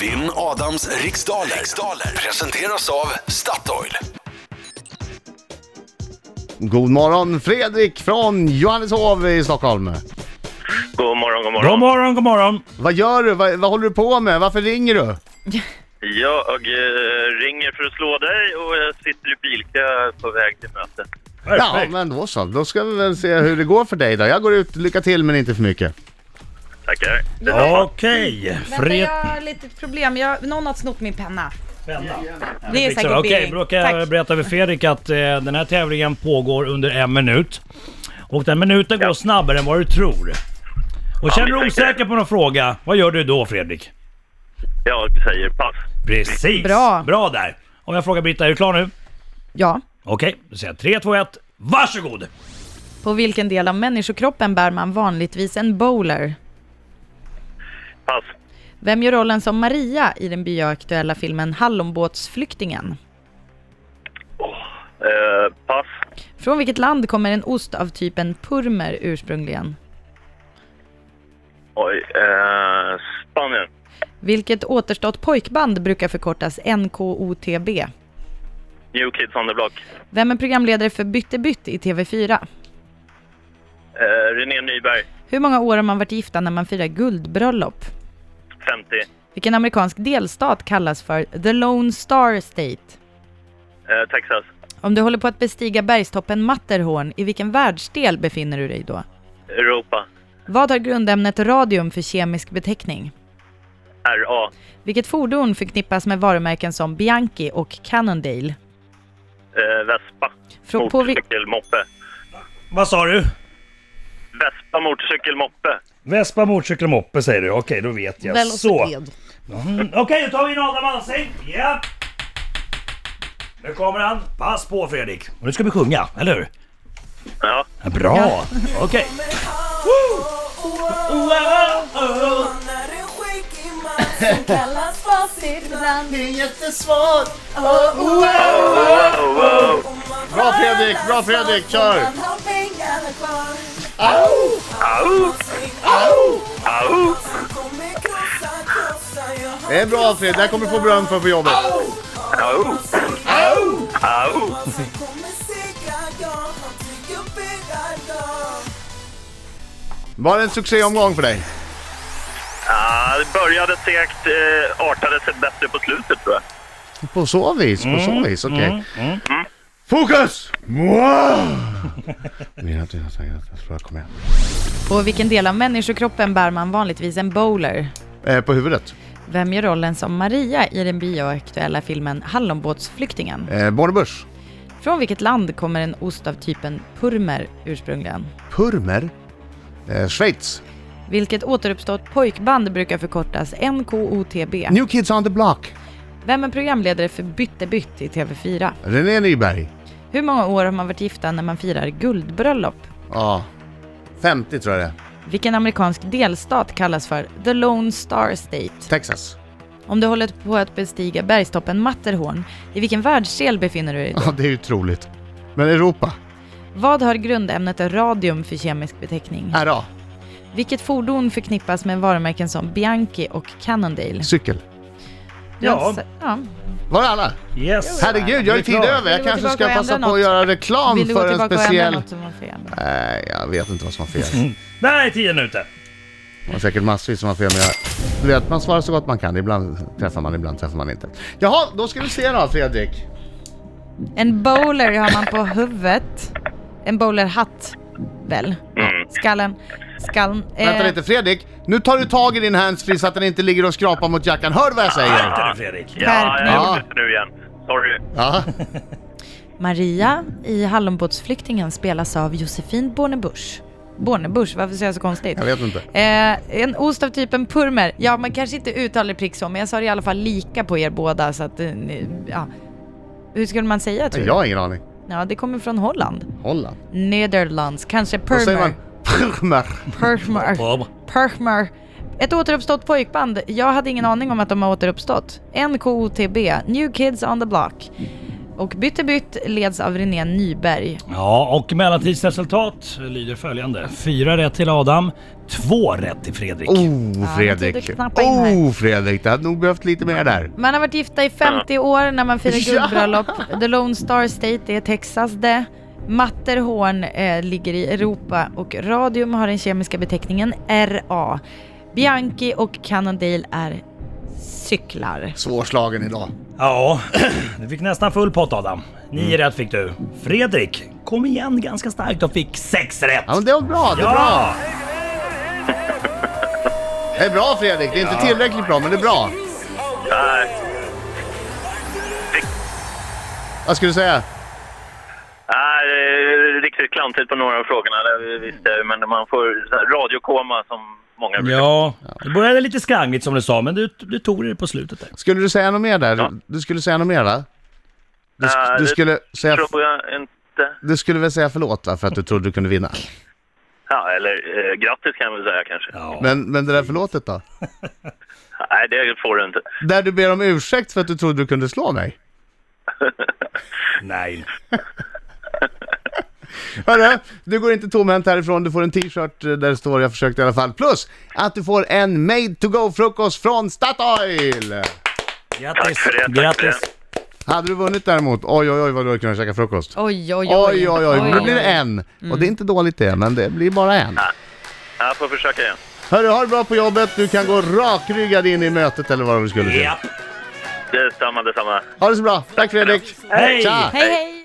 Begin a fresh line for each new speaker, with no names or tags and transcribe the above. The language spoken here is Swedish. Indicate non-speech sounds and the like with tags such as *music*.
Vinn Adams riksdaler. riksdaler presenteras av Statoil.
God morgon Fredrik från Johanneshov i Stockholm.
God morgon, god morgon.
God morgon, god morgon!
Vad gör du? Vad, vad håller du på med? Varför ringer du?
Jag eh, ringer för att slå dig och jag sitter i bilkö på väg till mötet.
Ja, men då så. Då ska vi väl se hur det går för dig då. Jag går ut. Lycka till men inte för mycket.
Tackar.
Okej,
Vänta, jag
fred...
har lite problem. Jag, någon har snott min penna. Det är
Fixar
säkert
du. Okej,
Billing.
då kan jag
Tack.
berätta för Fredrik att eh, den här tävlingen pågår under en minut. Och den minuten går snabbare än vad du tror. Och känner du
vi tänker-
osäker på någon fråga, vad gör du då Fredrik?
Jag säger pass.
Precis!
Bra.
Bra där! Om jag frågar Britta, är du klar nu?
Ja.
Okej, då säger jag 3, 2, 1, varsågod!
På vilken del av människokroppen bär man vanligtvis en bowler?
Pass.
Vem gör rollen som Maria i den bioaktuella filmen Hallonbåtsflyktingen?
Eh, pass.
Från vilket land kommer en ost av typen purmer ursprungligen?
Oj. Eh, Spanien.
Vilket återstått pojkband brukar förkortas NKOTB?
New Kids on the Block.
Vem är programledare för Bytte bytt i TV4?
Eh, René Nyberg.
Hur många år har man varit gifta när man firar guldbröllop?
50.
Vilken amerikansk delstat kallas för The Lone Star State?
Eh, Texas.
Om du håller på att bestiga bergstoppen Matterhorn, i vilken världsdel befinner du dig då?
Europa.
Vad har grundämnet radium för kemisk beteckning?
RA.
Vilket fordon förknippas med varumärken som Bianchi och Cannondale?
Eh, Vespa.
Frå- på vi-
Motorcykel, moppe.
Vad sa du?
Vespa, motorcykel, moppe.
Vespa, motorcykel, moppe säger du. Okej, då vet jag. Så. Mm, Okej, då tar vi in Adam Alsing. Ja. Nu kommer han. Pass på Fredrik. Och nu ska vi sjunga, eller hur?
Ja.
Bra. Okej.
När en skäggig man som kallas för sitt namn
Det är jättesvårt.
Wow, wow.
Om man
*laughs* Bra, Fredrik, bra,
rör
Fredrik,
sig
kör.
får man ha pengarna kvar.
Au,
Au!
au.
Kommer krossa, krossa, jag har
Det är bra Fredrik. Det här kommer du få *laughs* beröm för på jobbet.
Au, au.
chansen, kommer segra, jag har trygg och beredd dag.
Var det en succéomgång för dig?
Ah, det började segt, eh, artade sig bättre på slutet tror jag.
På så vis, på så vis. Okej. Fokus! *laughs* Wow! Mina dina tankar, jag tror jag kommer igen.
På vilken del av människokroppen bär man vanligtvis en bowler?
Eh, på huvudet.
Vem gör rollen som Maria i den bioaktuella filmen Hallonbåtsflyktingen?
Eh, Bonnie Bush.
Från vilket land kommer en ost av typen purmer ursprungligen?
Purmer. Eh, Schweiz.
Vilket återuppstått pojkband brukar förkortas NKOTB?
New Kids on the Block.
Vem är programledare för Bytte bytt i TV4?
René Nyberg.
Hur många år har man varit gifta när man firar guldbröllop?
Ja. 50 tror jag det är.
Vilken amerikansk delstat kallas för The Lone Star State?
Texas.
Om du håller på att bestiga bergstoppen Matterhorn, i vilken världsdel befinner du dig?
Ja, det är ju otroligt. Men Europa.
Vad har grundämnet radium för kemisk beteckning?
RA.
Vilket fordon förknippas med varumärken som Bianchi och Cannondale?
Cykel.
Du har inte
Ja.
sett- ja.
Var det alla?
Yes.
Herregud, jag är
Det är
tid
klart.
över.
Vill
Jag
du
kanske
gå
ska
tillbaka och
passa
ändra
på att
något?
göra reklam
Vill du gå
för en
tillbaka och ändra
speciell...
något som var fel?
Nej, jag vet inte vad som var fel.
Där är tiden ute.
Det var säkert massvis som var fel, men jag... Du vet, man svarar så gott man kan. Ibland träffar man, ibland träffar man inte. Jaha, då ska vi se då Fredrik.
En bowler har man på huvudet. En bowlerhatt, väl?
Mm.
Skallen. Skallen. eh,
Vänta lite, Fredrik. Nu tar du tag i din handsfree så att den inte ligger och skrapar mot jackan. Hör du vad jag säger?
Vänta nu Fredrik.
Ja, jag
Ja.
gjorde det nu igen. Sorry.
Ja.
Maria i Hallonbåtsflyktingen spelas av Josefin Bornebusch. Bornebusch, varför säger jag så konstigt?
Jag vet inte.
Eh, en ost av typen purmer. Ja, man kanske inte uttalar det prick så, men jag sa det i alla fall lika på er båda så att... eh, ni- Ja. Hur skulle man säga tror du?
Jag har ingen aning.
Ja, det kommer från Holland.
Holland.
Nederlands, kanske
Då säger man
purmer.
purmer.
Purmer.
Bob.
Purmer. Ett återuppstått pojkband. Jag hade ingen aning om att de har återuppstått. NKOTB, New Kids on the Block. Och Bytt är bytt leds av René Nyberg.
Ja, och mellantidsresultat lyder följande. Fyra rätt till Adam, två rätt till Fredrik.
Oh,
jag
Fredrik!
trodde knappa in här.
Oh, Fredrik! Det hade nog behövt lite mer där.
Man har varit gifta i 50 år när man firar
Ja.
guldbröllop. The Lone Star State är Texas det. Matterhorn eh, ligger i Europa och radium har den kemiska beteckningen RA. Bianchi och Cannondale är cyklar.
Svårslagen idag.
Ja, *clears throat* du fick nästan full pott Adam.
Mm.
Nio rätt fick du. Fredrik kom igen ganska starkt och fick sex rätt.
Ja, men det var bra, det är bra.
Ja!
Det är bra Fredrik, det är inte tillräckligt bra men det är bra.
Nej,
Vad skulle du säga?
nej, det är riktigt klantigt på några av frågorna, det visste jag ju, men man får så här radiokoma som många brukar
Ja, det började lite skrangligt som du sa, men du, du tog det på slutet där.
Skulle du säga något mer där?
Ja.
Du skulle säga något mer där? Du, sk-
Nej,
du,
det
skulle säga,
Tror jag inte.
du skulle väl säga förlåt va, för att du trodde du kunde vinna?
Ja, eller eh, grattis kan jag väl säga kanske.
Ja.
Men, men det där förlåtet då?
Nej, det får du inte.
Där du ber om ursäkt för att du trodde du kunde slå mig?
Nej.
Hörru, du går inte tomhänt härifrån. Du får en t-shirt eh, där det står “Jag försökte i alla fall”. Plus att du får en made to go-frukost från Statoil!
Grattis.
för det, tack för
Grattis.
Hade du vunnit däremot, oj oj oj vad du hade kunnat käka frukost.
Oj, oj, oj.
Oj oj oj, Mm. men nu blir det en. Och det är inte dåligt det, men det blir bara en.
Jag får försöka igen.
Hörru, ha det bra på jobbet. Du kan gå rakryggad in i mötet eller vad du skulle säga.
Ja.
Detsamma, detsamma.
Ha det så bra. Tack Fredrik.
Hej.
Tja.
Hej, hej!